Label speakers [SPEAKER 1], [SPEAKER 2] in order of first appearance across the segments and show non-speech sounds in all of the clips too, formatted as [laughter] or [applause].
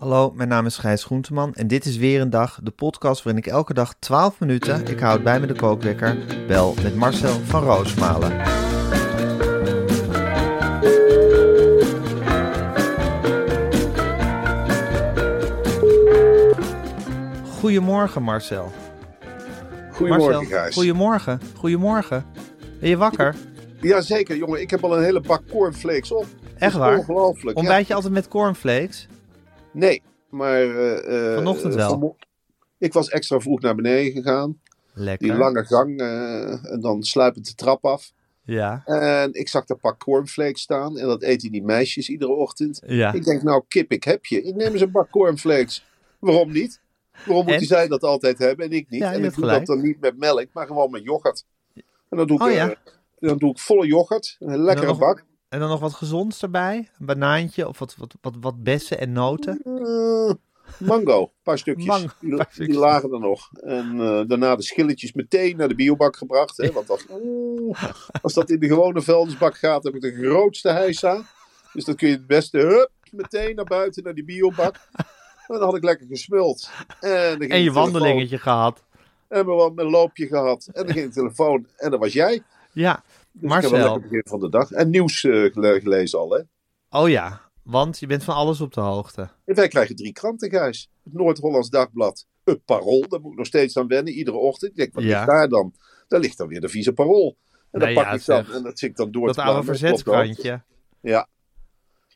[SPEAKER 1] Hallo, mijn naam is Gijs Groenteman en dit is weer een dag, de podcast waarin ik elke dag 12 minuten, ik houd bij me de kookwekker, bel met Marcel van Roosmalen. Goedemorgen Marcel.
[SPEAKER 2] Goedemorgen,
[SPEAKER 1] Marcel,
[SPEAKER 2] Gijs.
[SPEAKER 1] Goedemorgen, goedemorgen. Ben je wakker?
[SPEAKER 2] Jazeker, jongen. Ik heb al een hele bak cornflakes op. Dat
[SPEAKER 1] Echt
[SPEAKER 2] is
[SPEAKER 1] waar?
[SPEAKER 2] Ongelooflijk. ja.
[SPEAKER 1] Ontbijt je altijd met cornflakes?
[SPEAKER 2] Nee, maar... eh, eh,
[SPEAKER 1] Vanochtend wel.
[SPEAKER 2] vanmo- ik was extra vroeg naar beneden gegaan.
[SPEAKER 1] Lekker.
[SPEAKER 2] Die lange gang. eh, en dan sluipend de trap af.
[SPEAKER 1] Ja,
[SPEAKER 2] En ik zag dat pak cornflakes staan. En dat eten die meisjes iedere ochtend.
[SPEAKER 1] ja.
[SPEAKER 2] Ik denk, nou kip, ik heb je. Ik neem eens een bak cornflakes. Waarom niet? Waarom
[SPEAKER 1] En?
[SPEAKER 2] moeten zij dat altijd hebben en ik niet?
[SPEAKER 1] Ja, je
[SPEAKER 2] en ik
[SPEAKER 1] hebt
[SPEAKER 2] doe
[SPEAKER 1] gelijk.
[SPEAKER 2] dat dan niet met melk, maar gewoon met yoghurt. En dan doe ik,
[SPEAKER 1] Oh, ja.
[SPEAKER 2] eh, dan doe ik volle yoghurt. Een lekkere
[SPEAKER 1] nog-
[SPEAKER 2] bak.
[SPEAKER 1] En dan nog wat gezonds erbij. Een banaantje of wat, wat, wat, wat bessen en noten.
[SPEAKER 2] Eh, mango, een paar stukjes.
[SPEAKER 1] Mango,
[SPEAKER 2] die,
[SPEAKER 1] paar
[SPEAKER 2] die
[SPEAKER 1] stukjes.
[SPEAKER 2] lagen er nog. En eh, daarna de schilletjes meteen naar de biobak gebracht. Hè, want dat, oeh, als dat in de gewone vuilnisbak gaat, heb ik de grootste hijsa. Dus dat kun je het beste hup, meteen naar buiten naar die biobak. En dan had ik lekker gesmuld. En, dan ging
[SPEAKER 1] En je
[SPEAKER 2] de telefoon-
[SPEAKER 1] wandelingetje gehad.
[SPEAKER 2] En we hebben een loopje gehad. En dan ging de telefoon. En dat was jij.
[SPEAKER 1] Ja,
[SPEAKER 2] Dus ik heb een
[SPEAKER 1] Marcel.
[SPEAKER 2] lekker begin van de dag. En nieuws eh, gele- gelezen al. Hè.
[SPEAKER 1] Oh ja, want je bent van alles op de hoogte.
[SPEAKER 2] En wij krijgen drie kranten, Gijs. Het Noord-Hollands Dagblad. Het Parool, daar moet ik nog steeds aan wennen. Iedere ochtend. Ik denk, wat
[SPEAKER 1] Ja.
[SPEAKER 2] ligt daar dan? Daar ligt dan weer de vieze Parool. En
[SPEAKER 1] Nou
[SPEAKER 2] dat
[SPEAKER 1] ja,
[SPEAKER 2] pak ik dan.
[SPEAKER 1] zeg.
[SPEAKER 2] En dat zit ik dan door
[SPEAKER 1] Dat
[SPEAKER 2] te
[SPEAKER 1] oude
[SPEAKER 2] bladeren. Klopt wel.
[SPEAKER 1] verzetskrantje.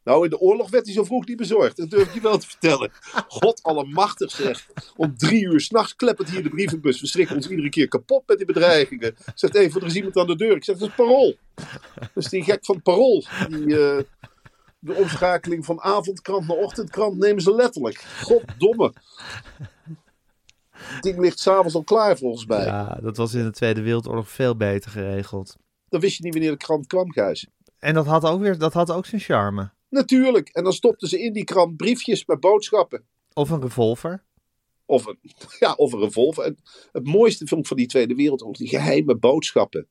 [SPEAKER 2] Nou, in de oorlog werd hij zo vroeg niet bezorgd. Dat durf ik je wel te vertellen. God allemachtig zeg. Om drie uur s'nachts kleppert hier de brievenbus. We schrikken ons iedere keer kapot met die bedreigingen. Zegt even, er is iemand aan de deur. Ik zeg, dat is parool. Dus die gek van parool. Die, eh, de omschakeling van avondkrant naar ochtendkrant nemen ze letterlijk. Goddomme. Het ding ligt s'avonds al klaar volgens mij.
[SPEAKER 1] Ja, dat was in de Tweede Wereldoorlog veel beter geregeld.
[SPEAKER 2] Dan wist je niet wanneer de krant kwam, Gijs.
[SPEAKER 1] En dat had ook, weer, dat had ook zijn charme.
[SPEAKER 2] Natuurlijk. En dan stopten ze in die krant briefjes met boodschappen.
[SPEAKER 1] Of een revolver.
[SPEAKER 2] Of een, [laughs] ja, of een revolver. En het mooiste film van die Tweede Wereldoorlog, die geheime boodschappen.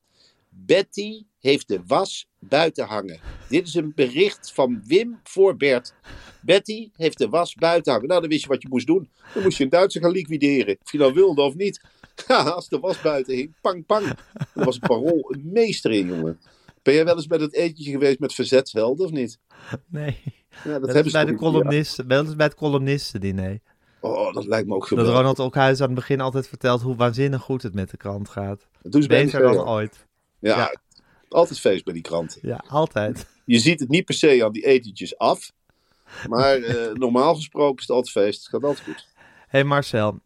[SPEAKER 2] Betty heeft de was buiten hangen. Dit is een bericht van Wim voor Bert. Betty heeft de was buiten hangen. Nou, dan wist je wat je moest doen. Dan moest je een Duitser gaan liquideren. Of je dat wilde of niet. [laughs] Ja, als de was buiten hing, pang, pang. Daar was een parool een meester in, jongen. Ben jij wel eens bij dat etentje geweest met verzetshelden of niet?
[SPEAKER 1] Nee,
[SPEAKER 2] Ja, dat,
[SPEAKER 1] dat,
[SPEAKER 2] hebben
[SPEAKER 1] is bij de
[SPEAKER 2] ze toch niet? Ja.
[SPEAKER 1] columnisten, dat is bij het columnistendiner.
[SPEAKER 2] Oh, dat lijkt me ook
[SPEAKER 1] Dat
[SPEAKER 2] geweldig.
[SPEAKER 1] Ronald Ockhuis aan het begin altijd vertelt hoe waanzinnig goed het met de krant gaat.
[SPEAKER 2] Dat doen ze Dus bij
[SPEAKER 1] Beter
[SPEAKER 2] NPO.
[SPEAKER 1] dan ooit.
[SPEAKER 2] Ja,
[SPEAKER 1] Ja.
[SPEAKER 2] altijd feest bij die kranten.
[SPEAKER 1] Ja, altijd.
[SPEAKER 2] Je ziet het niet per se aan die etentjes af. Maar [laughs] eh, normaal gesproken is het altijd feest. Het gaat altijd goed.
[SPEAKER 1] hey Marcel,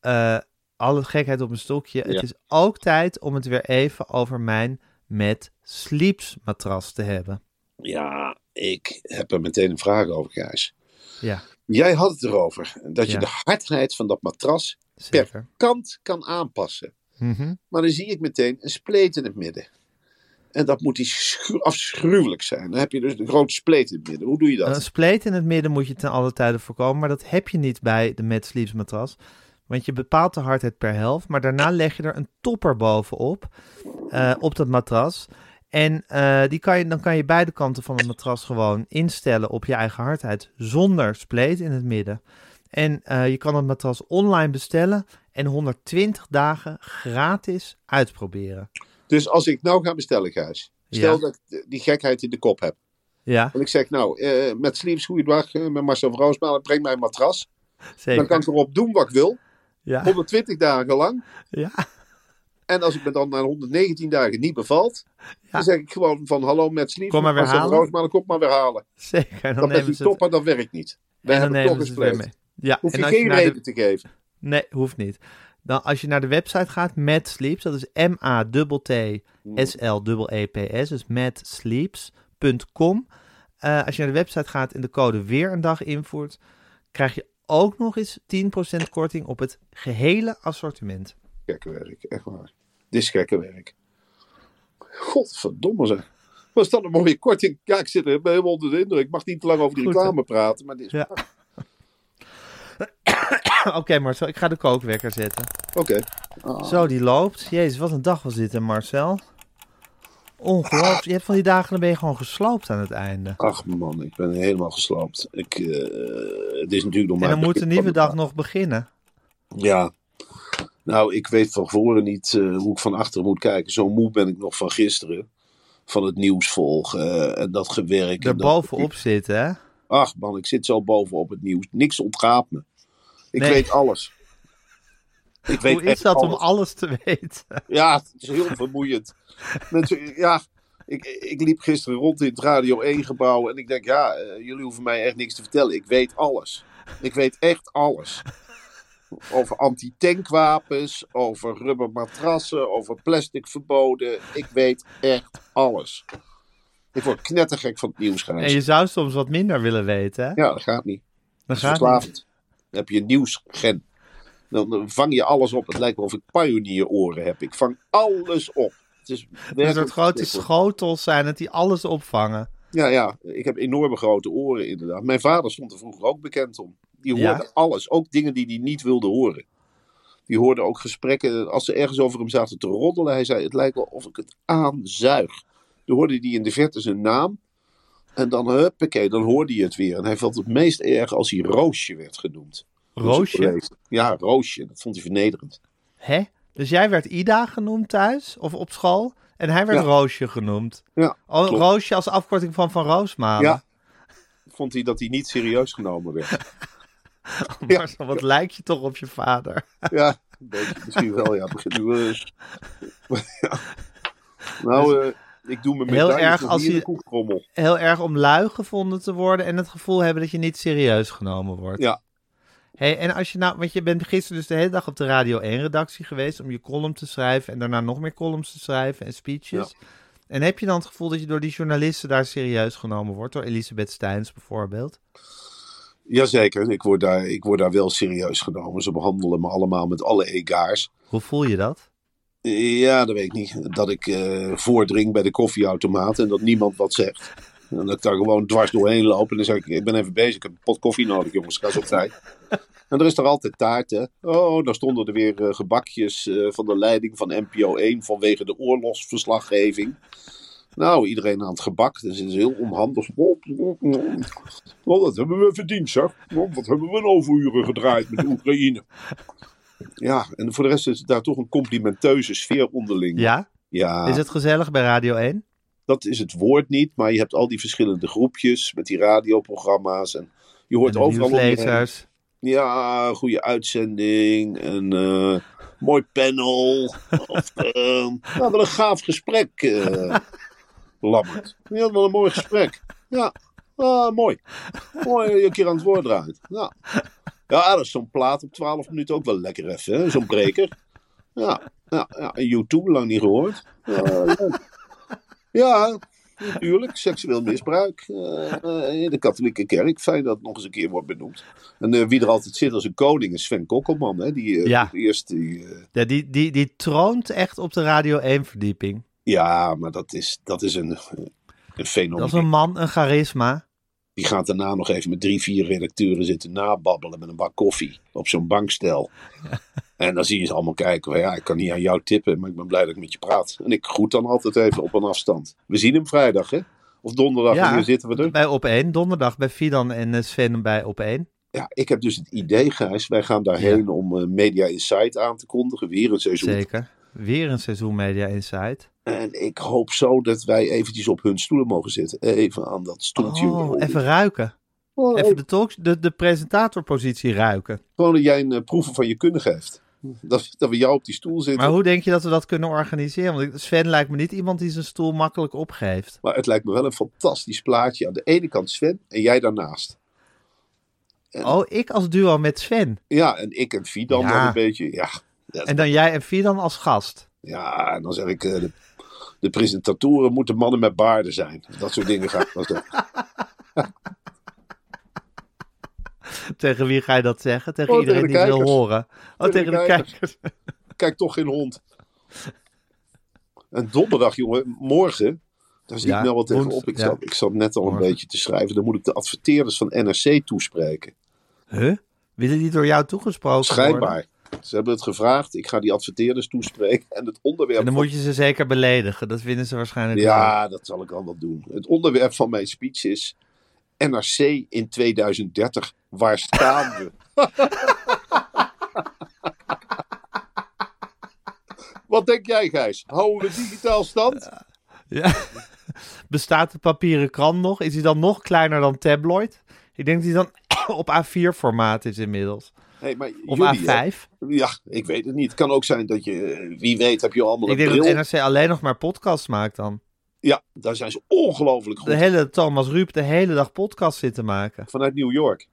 [SPEAKER 1] eh, alle gekheid op een stokje.
[SPEAKER 2] Ja.
[SPEAKER 1] Het is ook tijd om het weer even over mijn met sleeps matras te hebben.
[SPEAKER 2] Ja, ik heb er meteen een vraag over, Gijs.
[SPEAKER 1] Ja,
[SPEAKER 2] Jij had het erover dat je
[SPEAKER 1] Ja.
[SPEAKER 2] de hardheid van dat matras
[SPEAKER 1] zeker.
[SPEAKER 2] per kant kan aanpassen.
[SPEAKER 1] Mhm.
[SPEAKER 2] Maar dan zie ik meteen een spleet in het midden. En dat moet iets schu- afschuwelijk zijn. Dan heb je dus een groot spleet in het midden. Hoe doe je dat?
[SPEAKER 1] Een spleet in het midden moet je ten alle tijde voorkomen, maar dat heb je niet bij de Mad Sleeps matras. Want je bepaalt de hardheid per helft, maar daarna leg je er een topper bovenop, eh, op dat matras. En eh, die kan je, dan kan je beide kanten van het matras gewoon instellen op je eigen hardheid, zonder spleet in het midden. En eh, je kan het matras online bestellen en 120 dagen gratis uitproberen.
[SPEAKER 2] Dus als ik nou ga bestellen, Gijs. Stel
[SPEAKER 1] Ja.
[SPEAKER 2] dat ik die gekheid in de kop heb.
[SPEAKER 1] Ja,
[SPEAKER 2] En ik zeg, nou, eh, met Sleeves, Goeiedag, eh, met Marcel Vrouwsmalen, breng mij een matras. Dan
[SPEAKER 1] zeker.
[SPEAKER 2] kan ik erop doen wat ik wil.
[SPEAKER 1] Ja, [laughs]
[SPEAKER 2] 120 dagen lang.
[SPEAKER 1] ja,
[SPEAKER 2] En als het me dan na 119 dagen niet bevalt, dan zeg ik gewoon van hallo met Sleeves,
[SPEAKER 1] Kom maar weer
[SPEAKER 2] Marcel
[SPEAKER 1] halen.
[SPEAKER 2] Vrouwsmalen, kom maar weer halen.
[SPEAKER 1] zeker. En
[SPEAKER 2] Dat
[SPEAKER 1] Dan
[SPEAKER 2] met
[SPEAKER 1] nemen
[SPEAKER 2] die
[SPEAKER 1] ze het,
[SPEAKER 2] topper, dat werkt niet. Wij
[SPEAKER 1] en dan
[SPEAKER 2] hebben toch
[SPEAKER 1] nemen ze
[SPEAKER 2] eens
[SPEAKER 1] het weer mee. Ja,
[SPEAKER 2] Hoef
[SPEAKER 1] en
[SPEAKER 2] je
[SPEAKER 1] als je
[SPEAKER 2] geen
[SPEAKER 1] naar de
[SPEAKER 2] reden te geven.
[SPEAKER 1] Nee, hoeft niet. Dan als je naar de website gaat, Mad Sleeps, dat is M-A-T-T-S-L-E-P-S, dus madsleeps.com. Eh, als je naar de website gaat en de code weer een dag invoert, krijg je ook nog eens 10% korting op het gehele assortiment.
[SPEAKER 2] Gekke werk, echt waar. Dit is gekke werk. Godverdomme zeg. Was dat een mooie korting? Ja, ik zit er helemaal onder de indruk. Ik mag niet te lang over die
[SPEAKER 1] Goed, hè?
[SPEAKER 2] reclame praten, maar dit is... [laughs]
[SPEAKER 1] Ja. [coughs] Oké Marcel, ik ga de kookwekker zetten.
[SPEAKER 2] Oké.
[SPEAKER 1] Oh. Zo, die loopt. Jezus, wat een dag was dit hè Marcel. Ongelooflijk. Je hebt van die dagen, dan ben je gewoon gesloopt aan het einde.
[SPEAKER 2] Ach man, ik ben helemaal gesloopt. Ik, eh, het is natuurlijk nog maar...
[SPEAKER 1] En dan
[SPEAKER 2] het
[SPEAKER 1] moet een
[SPEAKER 2] begin
[SPEAKER 1] nieuwe
[SPEAKER 2] van de
[SPEAKER 1] dag nog beginnen.
[SPEAKER 2] Ja. Nou, ik weet van voren niet eh, hoe ik van achteren moet kijken. Zo moe ben ik nog van gisteren. Van het nieuws volgen eh, en dat gewerk. en dat-
[SPEAKER 1] Daarbovenop zitten, hè?
[SPEAKER 2] Ach man, ik zit zo bovenop het nieuws. Niks ontgaat me. Ik
[SPEAKER 1] Nee.
[SPEAKER 2] weet alles. Ik weet
[SPEAKER 1] Hoe is
[SPEAKER 2] echt
[SPEAKER 1] dat
[SPEAKER 2] alles.
[SPEAKER 1] om alles te weten?
[SPEAKER 2] [laughs] Ja, het is heel vermoeiend. Natuurlijk, ja, ik, ik liep gisteren rond in het Radio 1-gebouw en ik denk, ja, eh, jullie hoeven mij echt niks te vertellen. Ik weet alles. Ik weet echt alles. Over antitankwapens, over rubbermatrassen, over plastic verboden. Ik weet echt alles. Ik word knettergek van het nieuws,
[SPEAKER 1] En
[SPEAKER 2] Gijs.
[SPEAKER 1] je zou soms wat minder willen weten, hè?
[SPEAKER 2] Ja, dat gaat niet.
[SPEAKER 1] Dan
[SPEAKER 2] Dat is
[SPEAKER 1] gaat niet.
[SPEAKER 2] verslavend. Dan heb je een nieuwsgen. Dan dan vang je alles op. Het lijkt wel of ik pionieroren heb. Ik vang alles op. Het is
[SPEAKER 1] Een
[SPEAKER 2] werkelijk
[SPEAKER 1] soort Dus grote
[SPEAKER 2] verschrikkelijk.
[SPEAKER 1] schotels zijn het die alles opvangen.
[SPEAKER 2] Ja, ja, ik heb enorme grote oren inderdaad. Mijn vader stond er vroeger ook bekend om. Die
[SPEAKER 1] Ja.
[SPEAKER 2] hoorde alles, ook dingen die hij niet wilde horen. Die hoorde ook gesprekken, als ze ergens over hem zaten te roddelen. Hij zei, het lijkt wel of ik het aanzuig. Dan hoorde hij in de verte zijn naam. En dan, huppakee, dan hoorde hij het weer. En hij vond het meest erg als hij Roosje werd genoemd. Door zijn
[SPEAKER 1] Roosje?
[SPEAKER 2] collega's. Ja, Roosje. Dat vond hij vernederend.
[SPEAKER 1] Hè? Dus jij werd Ida genoemd thuis of op school en hij werd
[SPEAKER 2] Ja.
[SPEAKER 1] Roosje genoemd.
[SPEAKER 2] Ja,
[SPEAKER 1] Oh,
[SPEAKER 2] klopt.
[SPEAKER 1] Roosje als afkorting van Van Roosmalen.
[SPEAKER 2] Ja. Vond hij dat hij niet serieus genomen werd.
[SPEAKER 1] [laughs] Marcel, wat lijk je toch op je vader.
[SPEAKER 2] Ja, een beetje, misschien wel. Ja, begint nu. eh,
[SPEAKER 1] [laughs]
[SPEAKER 2] ja. Nou, eh, ik doe mijn
[SPEAKER 1] Dus Heel
[SPEAKER 2] medaille
[SPEAKER 1] erg
[SPEAKER 2] voor
[SPEAKER 1] als
[SPEAKER 2] hier
[SPEAKER 1] je-
[SPEAKER 2] de koekrommel.
[SPEAKER 1] Heel erg om lui gevonden te worden en het gevoel hebben dat je niet serieus genomen wordt.
[SPEAKER 2] Ja,
[SPEAKER 1] Hey, en als je nou, want je bent gisteren dus de hele dag op de Radio 1-redactie geweest om je column te schrijven en daarna nog meer columns te schrijven en speeches. En heb je dan het gevoel dat je door die journalisten daar serieus genomen wordt, door Elisabeth Steins bijvoorbeeld?
[SPEAKER 2] jazeker. Ik word, daar, ik word daar wel serieus genomen. Ze behandelen me allemaal met alle egaars. Eh,
[SPEAKER 1] Hoe voel je dat?
[SPEAKER 2] Ja, dat weet ik niet. Dat ik eh, voordring bij de koffieautomaat en dat niemand wat zegt. En dat ik daar gewoon dwars doorheen loop. En dan zeg ik, ik ben even bezig. Ik heb een pot koffie nodig, jongens. Ga zo opzij. En er is er altijd taart, hè. Oh, daar stonden er weer eh, gebakjes eh, van de leiding van NPO 1 vanwege de oorlogsverslaggeving. Nou, iedereen aan het gebak. Dus het is heel onhandig. Oh, dat hebben we verdiend, zeg. Oh, wat hebben we een overuren gedraaid met Oekraïne. Ja, en voor de rest is het daar toch een complimenteuze sfeer onderling.
[SPEAKER 1] Ja?
[SPEAKER 2] Ja,
[SPEAKER 1] Is het gezellig bij Radio 1?
[SPEAKER 2] dat is het woord niet, maar je hebt al die verschillende groepjes met die radioprogramma's en je hoort
[SPEAKER 1] En de
[SPEAKER 2] overal om je heen.
[SPEAKER 1] nieuwslezers.
[SPEAKER 2] Ja, goede uitzending en eh, mooi panel. of, eh, [laughs] ja, wel een gaaf gesprek, eh Lammert. Ja, wel een mooi gesprek. Ja, ah, mooi. Mooi dat je een keer aan het woord draait. Ja, ja ah, dat is zo'n plaat op 12 minuten ook wel lekker even, hè? zo'n breker. Ja, ja, ja, YouTube lang niet gehoord. Ja, leuk. ja natuurlijk. Seksueel misbruik eh, eh, in de katholieke kerk. Fijn dat het nog eens een keer wordt benoemd. En eh, wie er altijd zit als een koning is Sven Kokkelman. Hè? Die, eh,
[SPEAKER 1] Ja.
[SPEAKER 2] voor het eerst die, eh,
[SPEAKER 1] Ja, die, die, die troont echt op de Radio 1-verdieping.
[SPEAKER 2] ja, maar dat is, dat is een, een fenomeen.
[SPEAKER 1] Dat is een man, een charisma.
[SPEAKER 2] Die gaat daarna nog even met drie, vier redacteuren zitten nababbelen met een bak koffie op zo'n bankstel. En dan zie je ze allemaal kijken. van, Ja, ik kan niet aan jou tippen, maar ik ben blij dat ik met je praat. En ik groet dan altijd even op een afstand. We zien hem vrijdag, hè? Of donderdag,
[SPEAKER 1] Ja.
[SPEAKER 2] en hier zitten we er.
[SPEAKER 1] Bij Op 1, donderdag bij Fidan en eh, Sven bij Op 1.
[SPEAKER 2] Ja, ik heb dus het idee, Gijs, wij gaan daarheen om eh, Media Insight aan te kondigen. Weer een seizoen.
[SPEAKER 1] Zeker. Weer een seizoen Media Insight.
[SPEAKER 2] En ik hoop zo dat wij eventjes op hun stoelen mogen zitten. Even aan dat stoeltje.
[SPEAKER 1] Oh, even ruiken.
[SPEAKER 2] Oh,
[SPEAKER 1] Even de, talk, de, de presentatorpositie ruiken.
[SPEAKER 2] Gewoon dat jij een eh, proeven van je kunnen geeft. Dat, dat we jou op die stoel zitten.
[SPEAKER 1] Maar hoe denk je dat we dat kunnen organiseren? Want ik- Sven lijkt me niet iemand die zijn stoel makkelijk opgeeft.
[SPEAKER 2] Maar het lijkt me wel een fantastisch plaatje. Aan de ene kant Sven en jij daarnaast.
[SPEAKER 1] Oh, ik als duo met Sven.
[SPEAKER 2] Ja, en ik en Fidan
[SPEAKER 1] Ja.
[SPEAKER 2] dan een beetje. Ja, dat-
[SPEAKER 1] En dan jij en Fidan als gast.
[SPEAKER 2] ja en dan zeg ik... eh, de, de presentatoren moeten mannen met baarden zijn. Dat soort dingen ga ik dan
[SPEAKER 1] [laughs]
[SPEAKER 2] zeggen.
[SPEAKER 1] Tegen wie ga je dat zeggen? Tegen
[SPEAKER 2] Oh,
[SPEAKER 1] iedereen
[SPEAKER 2] tegen de
[SPEAKER 1] die het wil
[SPEAKER 2] kijkers.
[SPEAKER 1] horen. Oh, tegen de kijkers.
[SPEAKER 2] Kijk toch geen hond. En donderdag, jongen, morgen... Daar zit
[SPEAKER 1] Ja,
[SPEAKER 2] ik nou wel
[SPEAKER 1] woens-
[SPEAKER 2] tegenop. Ik,
[SPEAKER 1] ja.
[SPEAKER 2] zat, ik zat net al
[SPEAKER 1] Morgen.
[SPEAKER 2] een beetje te schrijven. Dan moet ik de adverteerders van NRC toespreken.
[SPEAKER 1] Huh? Willen die door jou toegesproken worden?
[SPEAKER 2] Schijnbaar. Ze hebben het gevraagd. Ik ga die adverteerders toespreken. En het onderwerp.
[SPEAKER 1] En dan
[SPEAKER 2] van-
[SPEAKER 1] moet je ze zeker beledigen. Dat vinden ze waarschijnlijk wel.
[SPEAKER 2] Ja, dat zal ik al wel doen. Het onderwerp van mijn speech is. NRC in 2030. Waar staan
[SPEAKER 1] [laughs]
[SPEAKER 2] we? Wat denk jij, Gijs? Houden we digitaal stand?
[SPEAKER 1] Ja. [laughs] Bestaat de papieren krant nog? Is die dan nog kleiner dan tabloid? Ik denk dat die dan [coughs] op A4 formaat is inmiddels.
[SPEAKER 2] Hey, maar
[SPEAKER 1] Of
[SPEAKER 2] jullie, hè?
[SPEAKER 1] A5.
[SPEAKER 2] Ja, ik weet het niet. Het kan ook zijn dat je, eh, wie weet, heb je allemaal
[SPEAKER 1] Ik
[SPEAKER 2] een
[SPEAKER 1] denk
[SPEAKER 2] bril.
[SPEAKER 1] dat NRC alleen nog maar podcast maakt dan.
[SPEAKER 2] Ja, daar zijn ze ongelooflijk goed
[SPEAKER 1] De hele Thomas Ruip de hele dag podcast zitten maken.
[SPEAKER 2] vanuit New York.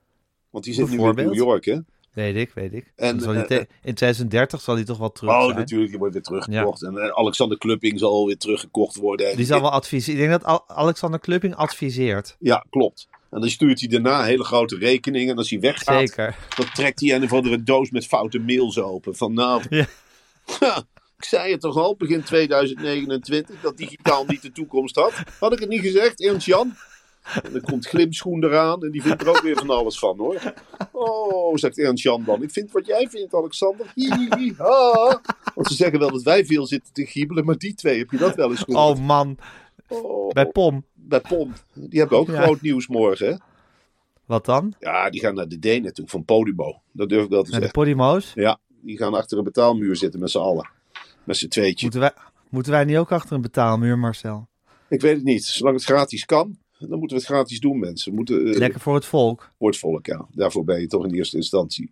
[SPEAKER 2] Want die zit nu in
[SPEAKER 1] Bijvoorbeeld?
[SPEAKER 2] New York, hè?
[SPEAKER 1] Weet ik, weet ik.
[SPEAKER 2] En,
[SPEAKER 1] Dan zal die
[SPEAKER 2] eh,
[SPEAKER 1] te-
[SPEAKER 2] eh,
[SPEAKER 1] in 2030 zal die toch wel terug
[SPEAKER 2] Oh,
[SPEAKER 1] zijn.
[SPEAKER 2] natuurlijk, die wordt weer teruggekocht. En eh, Alexander Klupping zal weer teruggekocht worden. En
[SPEAKER 1] Die zal wel adviseren. Ik denk dat Al- Alexander Klupping adviseert.
[SPEAKER 2] Ja, klopt. En dan stuurt hij daarna hele grote rekeningen. En als hij weggaat,
[SPEAKER 1] Zeker.
[SPEAKER 2] dan trekt hij een of andere doos met foute mails open. Van nou, [laughs]
[SPEAKER 1] Ja.
[SPEAKER 2] ik zei het toch al, begin 2029, dat digitaal niet de toekomst had. Had ik het niet gezegd, Ernst-Jan? En dan komt Glimschoen eraan en die vindt er ook weer van alles van, hoor. Oh, zegt Ernst-Jan dan. Ik vind wat jij vindt, Alexander. Hi, hi, hi, ha. Want ze zeggen wel dat wij veel zitten te giebelen, maar die twee heb je dat wel eens gehoord.
[SPEAKER 1] Oh man,
[SPEAKER 2] Oh,
[SPEAKER 1] bij Pom.
[SPEAKER 2] bij Pom. Die hebben ook
[SPEAKER 1] Ja.
[SPEAKER 2] groot nieuws morgen. hè?
[SPEAKER 1] Wat dan?
[SPEAKER 2] Ja, die gaan naar de Denen toe van Podimo. Dat durf ik wel te
[SPEAKER 1] Naar de
[SPEAKER 2] zeggen.
[SPEAKER 1] Podimo's?
[SPEAKER 2] Ja, die gaan achter een betaalmuur zitten met z'n allen. Met z'n tweetje.
[SPEAKER 1] Moeten wij, moeten wij niet ook achter een betaalmuur, Marcel?
[SPEAKER 2] Ik weet het niet. Zolang het gratis kan, dan moeten we het gratis doen, mensen. We moeten eh,
[SPEAKER 1] Lekker voor het volk.
[SPEAKER 2] voor het volk, ja. Daarvoor ben je toch in eerste instantie.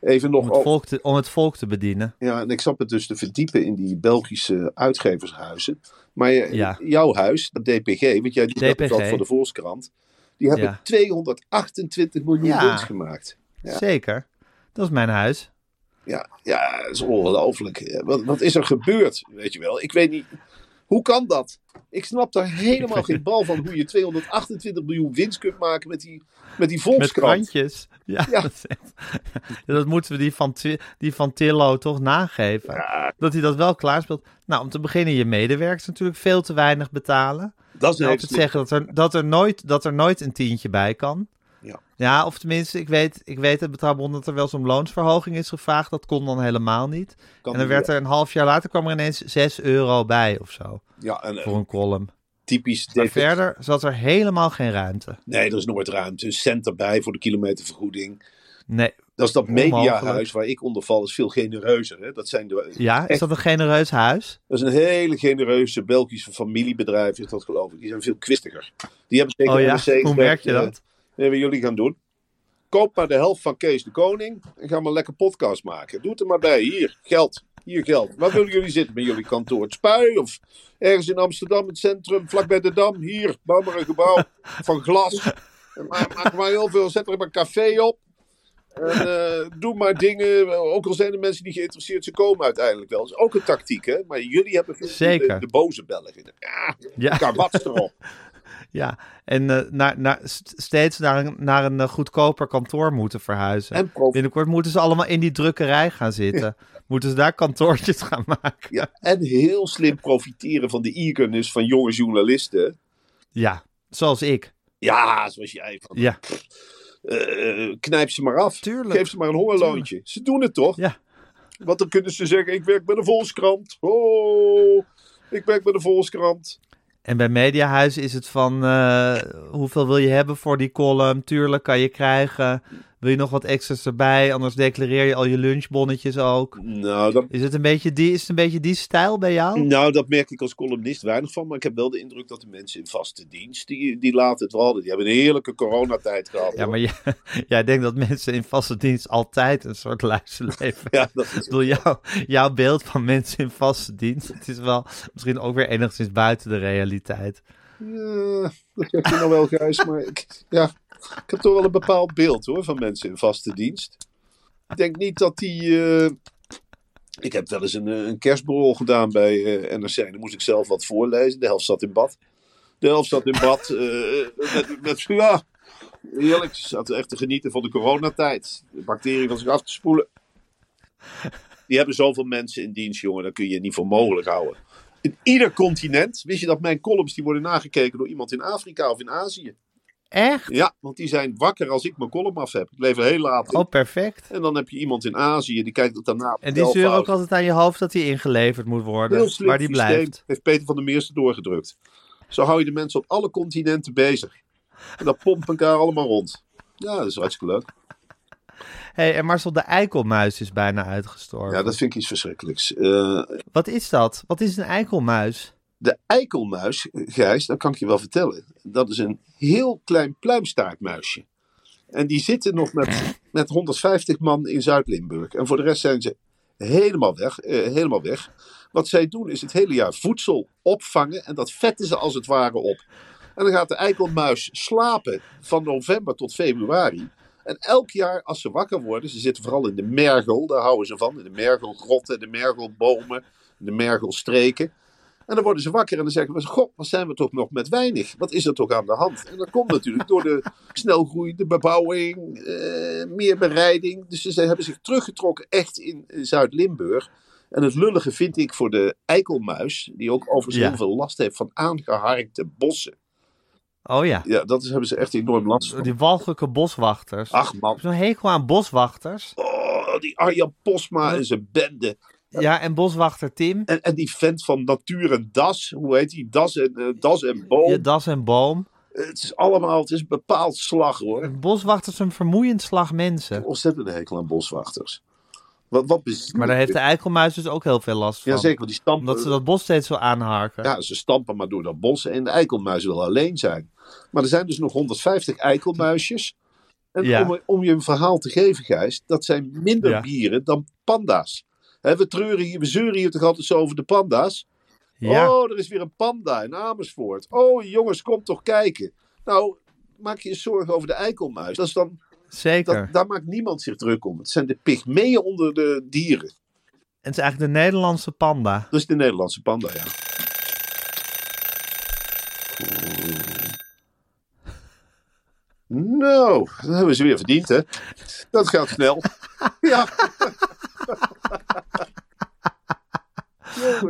[SPEAKER 2] Even
[SPEAKER 1] Om
[SPEAKER 2] nog.
[SPEAKER 1] het
[SPEAKER 2] oh,
[SPEAKER 1] volk te, om het volk te bedienen.
[SPEAKER 2] ja, en ik zat me dus te verdiepen in die Belgische uitgevershuizen. Maar eh,
[SPEAKER 1] Ja.
[SPEAKER 2] jouw huis, dat DPG, want jij doet dat
[SPEAKER 1] DPG.
[SPEAKER 2] ook voor de Volkskrant. Die hebben
[SPEAKER 1] Ja.
[SPEAKER 2] 228 miljoen
[SPEAKER 1] Ja.
[SPEAKER 2] winst gemaakt. Ja.
[SPEAKER 1] Zeker. Dat is mijn huis.
[SPEAKER 2] Ja, ja, dat is ongelooflijk. Eh, Wat, wat is er gebeurd, weet je wel? Ik weet niet. Hoe kan dat? Ik snap daar helemaal geen bal van hoe je 228 miljoen winst kunt maken met die, met die
[SPEAKER 1] Met
[SPEAKER 2] Volkskrant.
[SPEAKER 1] krantjes. Ja,
[SPEAKER 2] Ja.
[SPEAKER 1] [laughs] Dat, is echt- Ja, dat moeten we die van, Ti- die van Tillo toch nageven. Dat hij dat wel klaarspeelt. Nou, om te beginnen, je medewerkers natuurlijk veel te weinig betalen.
[SPEAKER 2] Dat is
[SPEAKER 1] Je altijd
[SPEAKER 2] slim.
[SPEAKER 1] zeggen dat er, dat, er nooit, dat er nooit een tientje bij kan.
[SPEAKER 2] Ja.
[SPEAKER 1] Ja, of tenminste, ik weet, ik weet het betrouwbaar dat er wel zo'n loonsverhoging is gevraagd. Dat kon dan helemaal niet.
[SPEAKER 2] Kan
[SPEAKER 1] en dan
[SPEAKER 2] niet,
[SPEAKER 1] werd
[SPEAKER 2] ja.
[SPEAKER 1] er een half jaar later kwam er ineens 6 euro bij of zo.
[SPEAKER 2] Ja, en eh,
[SPEAKER 1] Voor een column.
[SPEAKER 2] typisch
[SPEAKER 1] Maar
[SPEAKER 2] DPG.
[SPEAKER 1] verder zat er helemaal geen ruimte.
[SPEAKER 2] Nee, er is nooit ruimte. Een cent erbij voor de kilometervergoeding.
[SPEAKER 1] Nee.
[SPEAKER 2] Dat is dat
[SPEAKER 1] Onmogelijk.
[SPEAKER 2] mediahuis waar ik onder val, is veel genereuzer. Hè? Dat, zijn de,
[SPEAKER 1] Ja, is
[SPEAKER 2] echt-
[SPEAKER 1] dat een genereus huis?
[SPEAKER 2] dat is een hele genereuze Belgische familiebedrijf, is dat geloof ik. Die zijn veel kwistiger. Die hebben tegen
[SPEAKER 1] Oh ja,
[SPEAKER 2] NRC gezegd,
[SPEAKER 1] hoe merk je
[SPEAKER 2] eh,
[SPEAKER 1] dat?
[SPEAKER 2] Nee, wat jullie gaan doen. Koop maar de helft van Kees de Koning en ga maar lekker podcast maken. Doe het er maar bij. Hier, geld. Hier, geld. Waar willen jullie zitten bij jullie kantoor? Het Spui of ergens in Amsterdam, het centrum, vlakbij de Dam. Hier, bouw maar een gebouw van glas. En ma- Maak maar heel veel, zet er maar een café op. En eh, doe maar dingen, ook al zijn de mensen die geïnteresseerd zijn, komen uiteindelijk wel. Dat is ook een tactiek, hè? Maar jullie hebben veel-
[SPEAKER 1] Zeker.
[SPEAKER 2] De, de boze Belgen. Ja,
[SPEAKER 1] Ja.
[SPEAKER 2] karwats erop.
[SPEAKER 1] Ja, en eh, naar, naar, st- steeds naar een, naar een eh, goedkoper kantoor moeten verhuizen.
[SPEAKER 2] En prof-
[SPEAKER 1] Binnenkort moeten ze allemaal in die drukkerij gaan zitten. Moeten ze daar kantoortjes gaan [laughs] maken.
[SPEAKER 2] Ja, en heel slim profiteren van de eagerness van jonge journalisten.
[SPEAKER 1] Ja, zoals ik.
[SPEAKER 2] Ja, zoals jij. Van,
[SPEAKER 1] Ja,
[SPEAKER 2] eh, knijp ze maar af.
[SPEAKER 1] Tuurlijk.
[SPEAKER 2] Geef ze maar een hongerloontje. Ze doen het toch?
[SPEAKER 1] ja.
[SPEAKER 2] Want dan kunnen ze zeggen, ik werk bij de Volkskrant. Oh, ik werk bij de Volkskrant.
[SPEAKER 1] En bij Mediahuis is het van eh, hoeveel wil je hebben voor die column? Tuurlijk kan je krijgen. Wil je nog wat extra's erbij? Anders declareer je al je lunchbonnetjes ook.
[SPEAKER 2] Nou, dat,
[SPEAKER 1] Is het een beetje die, is het een beetje die stijl bij jou?
[SPEAKER 2] nou, dat merk ik als columnist weinig van. Maar ik heb wel de indruk dat de mensen in vaste dienst, die, die laten het wel hadden. Die hebben een heerlijke coronatijd gehad.
[SPEAKER 1] Ja,
[SPEAKER 2] hoor.
[SPEAKER 1] maar jij, [laughs] jij denkt dat mensen in vaste dienst altijd een soort luisterleven
[SPEAKER 2] Ja, dat
[SPEAKER 1] Ik
[SPEAKER 2] is
[SPEAKER 1] bedoel, jouw, jouw beeld van mensen in vaste dienst, het is wel misschien ook weer enigszins buiten de realiteit.
[SPEAKER 2] Ja, dat heb je nou wel, Gijs. Maar ik, ja, ik heb toch wel een bepaald beeld hoor, van mensen in vaste dienst. Ik denk niet dat die... eh, Ik heb wel eens een, eh, een kerstborrel gedaan bij eh, NRC. Dan moest ik zelf wat voorlezen. De helft zat in bad. De helft zat in bad. eh, met, met, ja, heerlijk. Ze zaten echt te genieten van de coronatijd. De bacteriën van zich af te spoelen. Die hebben zoveel mensen in dienst, jongen. Dat kun je niet voor mogelijk houden. In ieder continent. Wist je dat mijn columns die worden nagekeken door iemand in Afrika of in Azië?
[SPEAKER 1] Echt?
[SPEAKER 2] Ja, want die zijn wakker als ik mijn column af heb. Ik lever heel laat. in.
[SPEAKER 1] Oh, perfect.
[SPEAKER 2] En dan heb je iemand in Azië die kijkt het daarna. op
[SPEAKER 1] En die
[SPEAKER 2] elf
[SPEAKER 1] zeuren ook
[SPEAKER 2] hours.
[SPEAKER 1] altijd aan je hoofd dat die ingeleverd moet
[SPEAKER 2] Heel
[SPEAKER 1] worden,
[SPEAKER 2] slim
[SPEAKER 1] maar die
[SPEAKER 2] systeem.
[SPEAKER 1] blijft.
[SPEAKER 2] Heeft Peter van der Meersen doorgedrukt. Zo hou je de mensen op alle continenten bezig. En dat pompt elkaar allemaal rond. Ja, dat is hartstikke leuk.
[SPEAKER 1] hey, en Marcel, de eikelmuis is bijna uitgestorven.
[SPEAKER 2] Ja, dat vind ik iets verschrikkelijks. Eh,
[SPEAKER 1] Wat is dat? Wat is een eikelmuis?
[SPEAKER 2] De eikelmuis, eh, Gijs, dat kan ik je wel vertellen. Dat is een heel klein pluimstaartmuisje. En die zitten nog met, met 150 man in Zuid-Limburg. En voor de rest zijn ze helemaal weg, eh, helemaal weg. Wat zij doen is het hele jaar voedsel opvangen. En dat vetten ze als het ware op. En dan gaat de eikelmuis slapen van november tot februari. En elk jaar als ze wakker worden, ze zitten vooral in de mergel, daar houden ze van. In de mergelgrotten, de mergelbomen, de mergelstreken. En dan worden ze wakker en dan zeggen ze: Goh, wat zijn we toch nog met weinig? Wat is er toch aan de hand? En dat komt natuurlijk door de snelgroeiende bebouwing, eh, meer bereiding. Dus ze zijn- hebben zich teruggetrokken echt in, in Zuid-Limburg. En het lullige vind ik voor de eikelmuis, die ook overigens
[SPEAKER 1] Ja.
[SPEAKER 2] heel veel last heeft van aangeharkte bossen.
[SPEAKER 1] Oh ja,
[SPEAKER 2] Ja, dat is- hebben ze echt enorm last van.
[SPEAKER 1] die walgelijke boswachters. Ik
[SPEAKER 2] Ach
[SPEAKER 1] heb
[SPEAKER 2] man,
[SPEAKER 1] Zo'n hekel aan boswachters.
[SPEAKER 2] oh, die Arjan Posma en zijn bende.
[SPEAKER 1] Ja, en boswachter Tim.
[SPEAKER 2] En, en die vent van Natuur en Das, hoe heet die? Das en, eh, das en Boom.
[SPEAKER 1] Je das en boom.
[SPEAKER 2] Het is allemaal, het is een bepaald slag hoor.
[SPEAKER 1] Boswachters zijn een vermoeiend slag mensen.
[SPEAKER 2] Ontzettende hekel aan boswachters. Wat, wat bezielt
[SPEAKER 1] Maar daar heeft
[SPEAKER 2] dit?
[SPEAKER 1] de eikelmuis dus ook heel veel last van.
[SPEAKER 2] Ja zeker, want die
[SPEAKER 1] Omdat
[SPEAKER 2] stampen,
[SPEAKER 1] ze dat bos steeds zo aanharken.
[SPEAKER 2] ja, ze stampen maar door dat bos. En de eikelmuis wil alleen zijn. Maar er zijn dus nog 150 eikelmuisjes. En
[SPEAKER 1] Ja.
[SPEAKER 2] om, om je een verhaal te geven, Gijs, dat zijn minder
[SPEAKER 1] Ja.
[SPEAKER 2] dieren dan panda's. Hè, we treuren hier, we zeuren hier toch altijd zo over de panda's.
[SPEAKER 1] Ja.
[SPEAKER 2] Oh, er is weer een panda in Amersfoort. Oh, jongens, kom toch kijken. Nou, maak je eens zorgen over de eikelmuis. Dat is dan,
[SPEAKER 1] Zeker.
[SPEAKER 2] dat, daar maakt niemand zich druk om. Het zijn de pygmeeën onder de dieren.
[SPEAKER 1] Het is eigenlijk de Nederlandse panda.
[SPEAKER 2] Dat is de Nederlandse panda, ja. Nou, dat hebben ze weer verdiend, hè? Dat gaat snel. Ja.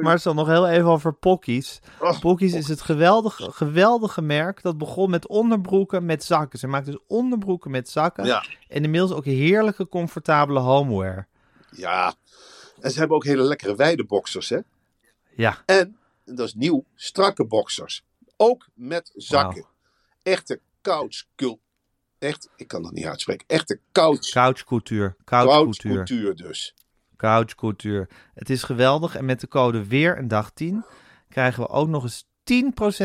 [SPEAKER 1] Marcel, nog heel even over Pockies.
[SPEAKER 2] Oh,
[SPEAKER 1] Pockies is het geweldige, geweldige merk dat begon met onderbroeken met zakken. Ze maakt dus onderbroeken met zakken.
[SPEAKER 2] Ja.
[SPEAKER 1] En inmiddels ook heerlijke, comfortabele homeware.
[SPEAKER 2] ja. En ze hebben ook hele lekkere weideboxers, hè?
[SPEAKER 1] Ja,
[SPEAKER 2] En, en dat is nieuw, strakke boxers. Ook met zakken. Echte couchcultuur. Echt, ik kan dat niet uitspreken. Echte couch,
[SPEAKER 1] couchcouture. Couchcouture.
[SPEAKER 2] couchcultuur dus.
[SPEAKER 1] Couchcouture. Het is geweldig. En met de code weer een dag 10 krijgen we ook nog eens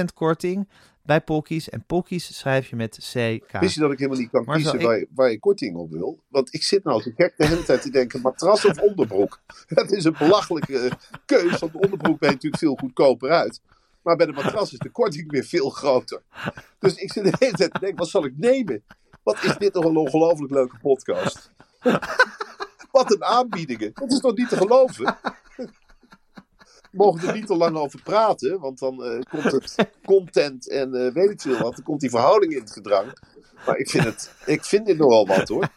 [SPEAKER 1] 10% korting bij Pockies. En Pockies schrijf je met CK.
[SPEAKER 2] Wist je dat ik helemaal niet kan
[SPEAKER 1] Maar zo,
[SPEAKER 2] kiezen
[SPEAKER 1] ik-
[SPEAKER 2] waar, je, waar je korting op wil? Want ik zit nou als een gek de hele tijd te denken, matras of onderbroek? [laughs] Dat is een belachelijke keuze, want de onderbroek ben je natuurlijk veel goedkoper uit. Maar bij de matras is de korting weer veel groter. Dus ik zit de hele tijd te denken, wat zal ik nemen? Wat is dit toch een ongelooflijk leuke podcast? [laughs] Wat een aanbiedingen. Dat is toch niet te geloven? We mogen er niet te lang over praten, want dan eh, komt het content en eh, weet ik veel wat. Dan komt die verhouding in het gedrang. Maar ik vind, het, ik vind dit nogal wat hoor.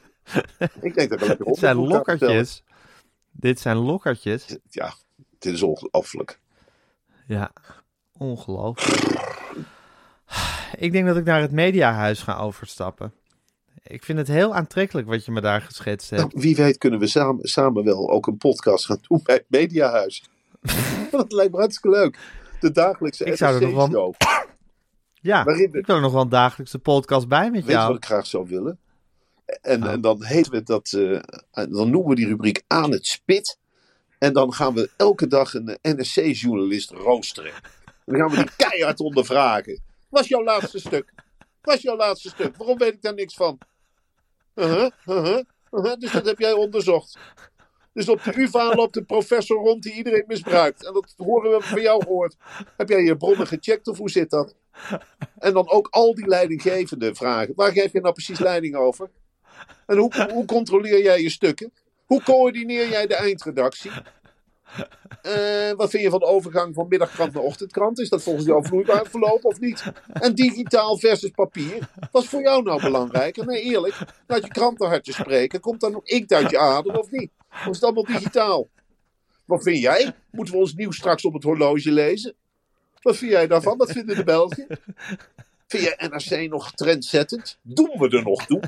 [SPEAKER 2] Ik denk dat ik lekker
[SPEAKER 1] Dit zijn
[SPEAKER 2] onderzoek ga vertellen.
[SPEAKER 1] lokkertjes. Dit zijn lokkertjes.
[SPEAKER 2] Ja, dit is ongelooflijk.
[SPEAKER 1] Ja, ongelooflijk. Ik denk dat ik naar het mediahuis ga overstappen. Ik vind het heel aantrekkelijk wat je me daar geschetst
[SPEAKER 2] Nou,
[SPEAKER 1] hebt.
[SPEAKER 2] wie weet kunnen we samen, samen wel ook een podcast gaan doen bij het Mediahuis. [laughs] dat lijkt me hartstikke leuk. De dagelijkse
[SPEAKER 1] Ik zou er nog wel-
[SPEAKER 2] FSC-show.
[SPEAKER 1] Ja,
[SPEAKER 2] [laughs] waarin dus? we-
[SPEAKER 1] ik wil er nog wel een dagelijkse podcast bij met
[SPEAKER 2] Weet je wat
[SPEAKER 1] jou. Nou.
[SPEAKER 2] ik graag zou willen? En, en dan heten we dat, eh, dan noemen we die rubriek aan het spit. En dan gaan we elke dag een NSC-journalist roosteren. En dan gaan we
[SPEAKER 1] [laughs]
[SPEAKER 2] die keihard ondervragen. Was jouw laatste stuk? Was jouw laatste stuk? Waarom weet ik daar niks van? Uh-huh, uh-huh, uh-huh. Dus dat heb jij onderzocht. Dus op de UvA loopt de professor rond die iedereen misbruikt. En dat horen we van jou gehoord. Heb jij je bronnen gecheckt of hoe zit dat? En dan ook al die leidinggevende vragen. Waar geef je nou precies leiding over? En hoe, hoe controleer jij je stukken? Hoe coördineer jij de eindredactie? Eh, wat vind je van de overgang van middagkrant naar ochtendkrant? Is dat volgens jou vloeibaar verlopen of niet? En digitaal versus papier? Wat is voor jou nou belangrijker? Nee, eerlijk, laat je krant een hartje spreken. Komt dan nog inkt uit je adem of niet? Of is het allemaal digitaal? Wat vind jij? Moeten we ons nieuws straks op het horloge lezen? Wat vind jij daarvan? Wat vinden de Belgen? Vind jij NRC nog trendzettend? Doen we er nog toe?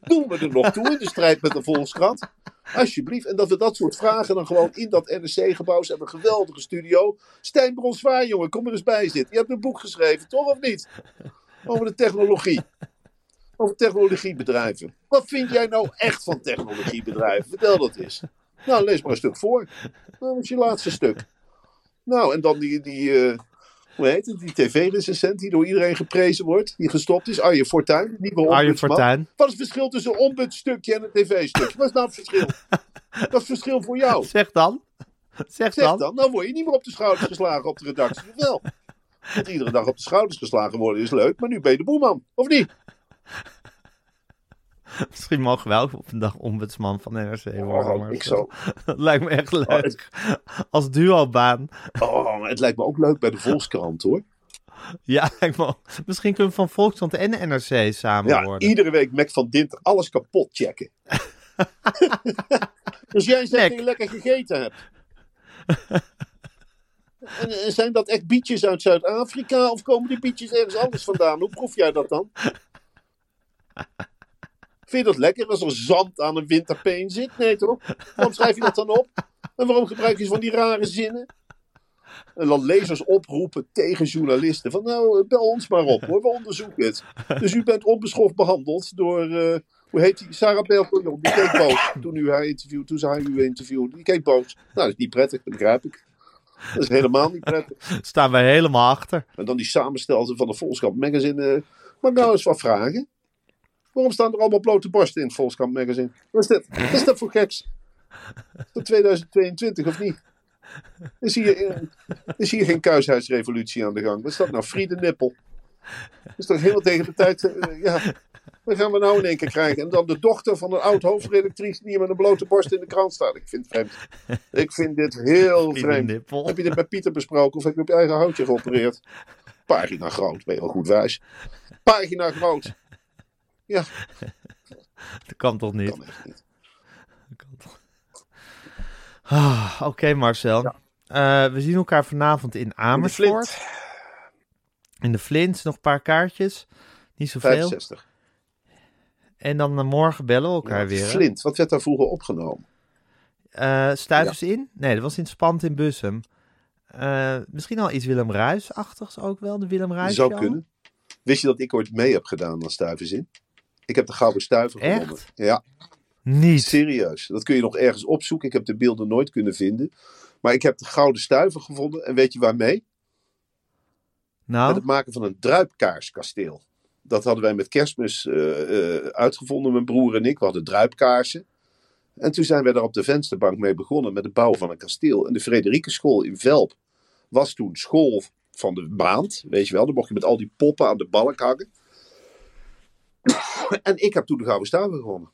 [SPEAKER 2] Doen we er nog toe in de strijd met de Volkskrant? Alsjeblieft. En dat we dat soort vragen dan gewoon in dat NRC-gebouw. Ze hebben een geweldige studio. Stijn Bronswaar, jongen, kom er eens bij zitten. Je hebt een boek geschreven, toch of niet? Over de technologie. Over technologiebedrijven. Wat vind jij nou echt van technologiebedrijven? Vertel dat eens. Nou, lees maar een stuk voor. Nou, Wat is je laatste stuk? Nou, en dan die, die, eh, hoe heet het, die tv-recensent die door iedereen geprezen wordt, die gestopt is. Arjen Fortuyn, nieuwe
[SPEAKER 1] Arjen
[SPEAKER 2] ombudsman.
[SPEAKER 1] Fortuyn.
[SPEAKER 2] Wat is het verschil tussen een ombudstukje en een tv-stukje? Wat is nou het verschil? Wat is het verschil voor jou?
[SPEAKER 1] [laughs] Zeg dan. Zeg,
[SPEAKER 2] Zeg
[SPEAKER 1] dan.
[SPEAKER 2] dan, dan word je niet meer op de schouders geslagen op de redactie. Of Wel. Want iedere dag op de schouders geslagen worden is leuk, maar nu ben je de boeman, of niet?
[SPEAKER 1] Misschien mogen wij ook op een dag ombudsman van NRC worden.
[SPEAKER 2] Oh,
[SPEAKER 1] maar
[SPEAKER 2] ik Oh,
[SPEAKER 1] dat-
[SPEAKER 2] zo.
[SPEAKER 1] [laughs] Dat lijkt me echt leuk. Als duo-baan.
[SPEAKER 2] Oh, maar het lijkt me ook leuk bij de Volkskrant hoor.
[SPEAKER 1] Ja, [laughs] lijkt me ook. Misschien kunnen we van Volkskrant en NRC samen
[SPEAKER 2] Ja,
[SPEAKER 1] worden.
[SPEAKER 2] iedere week Mac van Dinter alles kapot
[SPEAKER 1] [laughs]
[SPEAKER 2] checken. dus jij zegt
[SPEAKER 1] Mac.
[SPEAKER 2] dat je lekker gegeten hebt. En, en zijn dat echt bietjes uit Zuid-Afrika of komen die bietjes ergens anders vandaan? Hoe proef jij dat dan? Vind je dat lekker als er zand aan een winterpeen zit? Nee toch? Waarom schrijf je dat dan op? En waarom gebruik je van die rare zinnen? En dan lezers oproepen tegen journalisten. Van nou, bel ons maar op hoor, we onderzoeken het. Dus u bent onbeschoft behandeld door, eh, hoe heet die? Sarah Berteljon, die keek boos toen u haar interviewt, toen ze haar u interviewde. Die keek boos. Nou, dat is niet prettig, dat begrijp ik. Dat is helemaal niet prettig.
[SPEAKER 1] Staan wij helemaal achter.
[SPEAKER 2] En dan die samenstelsel van de Volkskrant Magazine. eh, mag ik nou eens wat vragen? Waarom staan er allemaal blote borsten in het Volkskrant Magazine? Wat is dat, wat is dat voor geks? Is dat 2022 of niet? Is hier, eh, is hier geen kuishuisrevolutie aan de gang? Wat is dat nou? Friede nippel. Dat is toch helemaal tegen de tijd. eh, ja. Wat gaan we nou in één keer krijgen? En dan de dochter van een oud hoofdredactrice die met een blote borst in de krant staat. Ik vind het vreemd. Ik vind dit heel
[SPEAKER 1] Friede
[SPEAKER 2] vreemd.
[SPEAKER 1] nippel.
[SPEAKER 2] Heb je dit met Pieter besproken of heb je op je eigen houtje geopereerd? Pagina groot, ben je wel goed wijs. Pagina groot. Ja,
[SPEAKER 1] Dat kan toch niet?
[SPEAKER 2] kan echt niet.
[SPEAKER 1] Dat kan toch- Ah, Oké, Marcel. Eh, we zien elkaar vanavond in Amersfoort.
[SPEAKER 2] Flint,
[SPEAKER 1] In de Flint. Nog een paar kaartjes. Niet zoveel.
[SPEAKER 2] 65.
[SPEAKER 1] En dan eh, morgen bellen we elkaar weer. hè?
[SPEAKER 2] Flint, wat werd daar vroeger opgenomen?
[SPEAKER 1] Eh Stuivers in? Nee, dat was in Spant in Bussum. Eh, misschien al iets Willem Ruijs-achtigs ook wel, de Willem Ruijs.
[SPEAKER 2] Zou kunnen. Wist je dat ik ooit mee heb gedaan aan Stuiverzin? Ik heb de Gouden Stuiver
[SPEAKER 1] Echt?
[SPEAKER 2] gewonnen. Ja,
[SPEAKER 1] Niet.
[SPEAKER 2] serieus. Dat kun je nog ergens opzoeken. Ik heb de beelden nooit kunnen vinden. Maar ik heb de Gouden Stuiver gevonden. En weet je waarmee?
[SPEAKER 1] Nou,
[SPEAKER 2] Met het maken van een druipkaarskasteel. Dat hadden wij met kerstmis eh, eh, uitgevonden, mijn broer en ik. We hadden druipkaarsen. En toen zijn wij daar op de vensterbank mee begonnen met het bouwen van een kasteel. En de Frederikenschool in Velp was toen school van de maand, weet je wel. Dan mocht je met al die poppen aan de balk hangen. [coughs] en ik heb toen de Gouden Staven gewonnen.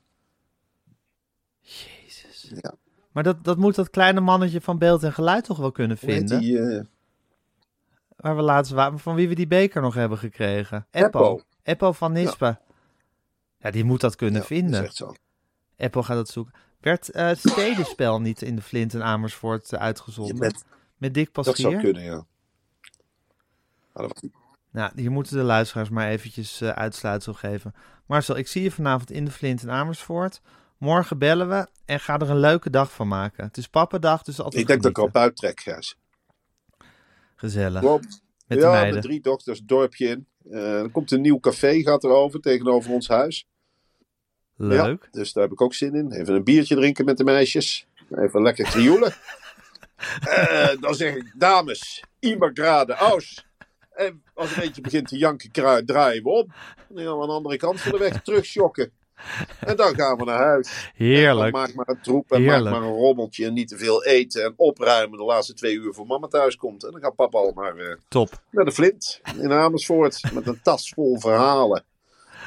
[SPEAKER 1] maar dat, dat moet dat kleine mannetje van beeld en geluid toch wel kunnen
[SPEAKER 2] Hoe heet
[SPEAKER 1] vinden.
[SPEAKER 2] die, eh,
[SPEAKER 1] Waar we laatst waren, van wie we die beker nog hebben gekregen.
[SPEAKER 2] Eppo.
[SPEAKER 1] Eppo. Eppo van Nispen. Ja. die moet dat kunnen
[SPEAKER 2] ja, dat
[SPEAKER 1] vinden.
[SPEAKER 2] is echt zo.
[SPEAKER 1] Eppo gaat dat zoeken. Werd eh, Stedenspel niet in de Flint en Amersfoort eh, uitgezonden?
[SPEAKER 2] Ja,
[SPEAKER 1] met,
[SPEAKER 2] met-
[SPEAKER 1] Dick
[SPEAKER 2] Dat zou
[SPEAKER 1] Pastier?
[SPEAKER 2] kunnen, ja. Maar dat was-
[SPEAKER 1] Nou, hier moeten de luisteraars maar eventjes eh, uitsluitsel geven. Marcel, ik zie je vanavond in de Flint in Amersfoort. Morgen bellen we en ga er een leuke dag van maken. Het is pappendag, dus altijd
[SPEAKER 2] Ik denk dat ik erop
[SPEAKER 1] genieten.
[SPEAKER 2] uittrek, Gijs.
[SPEAKER 1] Gezellig.
[SPEAKER 2] Klopt. [laughs]
[SPEAKER 1] Met de
[SPEAKER 2] ja,
[SPEAKER 1] meiden.
[SPEAKER 2] met drie dokters, dorpje in. Eh, er komt een nieuw café, gaat erover, tegenover ons huis.
[SPEAKER 1] Leuk.
[SPEAKER 2] Ja, dus daar heb ik ook zin in. Even een biertje drinken met de meisjes. Even lekker
[SPEAKER 1] [laughs]
[SPEAKER 2] krioelen. Eh, dan zeg ik, dames, immer graden aus. En als er eentje begint te janken, kruid, draaien we op. Dan gaan we aan de andere kant van de weg terugschokken. En dan gaan we naar huis.
[SPEAKER 1] Heerlijk.
[SPEAKER 2] En dan maak maar een troep en
[SPEAKER 1] Heerlijk.
[SPEAKER 2] maak maar een rommeltje. En niet te veel eten en opruimen de laatste twee uur voor mama thuis komt. En dan gaat papa al maar eh,
[SPEAKER 1] Top.
[SPEAKER 2] naar de Flint in Amersfoort met een tas vol verhalen.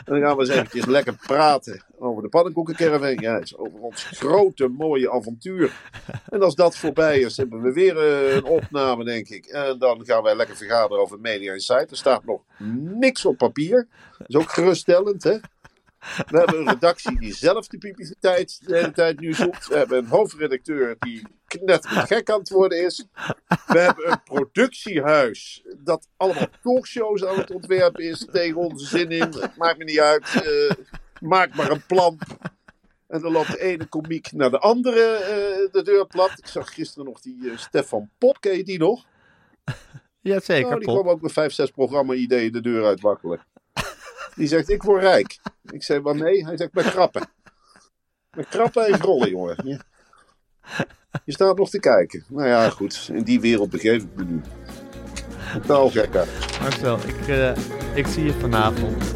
[SPEAKER 2] En dan gaan we eens eventjes lekker praten over de pannenkoekencaravan. Ja, eens over ons grote mooie avontuur. En als dat voorbij is, hebben we weer eh, een opname, denk ik. En dan gaan wij lekker vergaderen over Media Insight. Er staat nog niks op papier. Dat is ook geruststellend, hè? We hebben een redactie die zelf de publiciteit de hele tijd nu zoekt. We hebben een hoofdredacteur die knetterend gek aan het worden is. We hebben een productiehuis dat allemaal talkshows aan het ontwerpen is tegen onze zin in. Het maakt me niet uit. eh, maak maar een plan. En dan loopt de ene komiek naar de andere eh, de deur plat. Ik zag gisteren nog die eh, Stefan Pop, ken je die nog?
[SPEAKER 1] Jazeker,
[SPEAKER 2] Nou, die
[SPEAKER 1] Pop.
[SPEAKER 2] kwam ook met vijf, zes programma-ideeën de deur uitwakkelen. Die zegt, ik word rijk. Ik zei, waarmee? Hij zegt, met krappen. Met krappen en rollen, jongen. Je, je staat nog te kijken. Nou ja, goed. In die wereld begeef ik me nu. Totaal gek uit.
[SPEAKER 1] Marcel, ik, eh, ik zie je vanavond.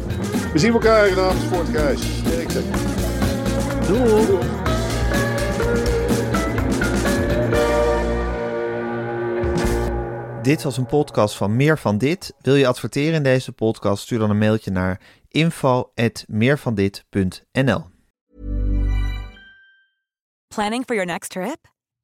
[SPEAKER 2] We zien elkaar in Amersfoort, Gijs. Sterkte.
[SPEAKER 1] Doei. Dit was een podcast van Meer van Dit. Wil je adverteren in deze podcast? Stuur dan een mailtje naar info.meervandit.nl
[SPEAKER 3] Planning for your next trip?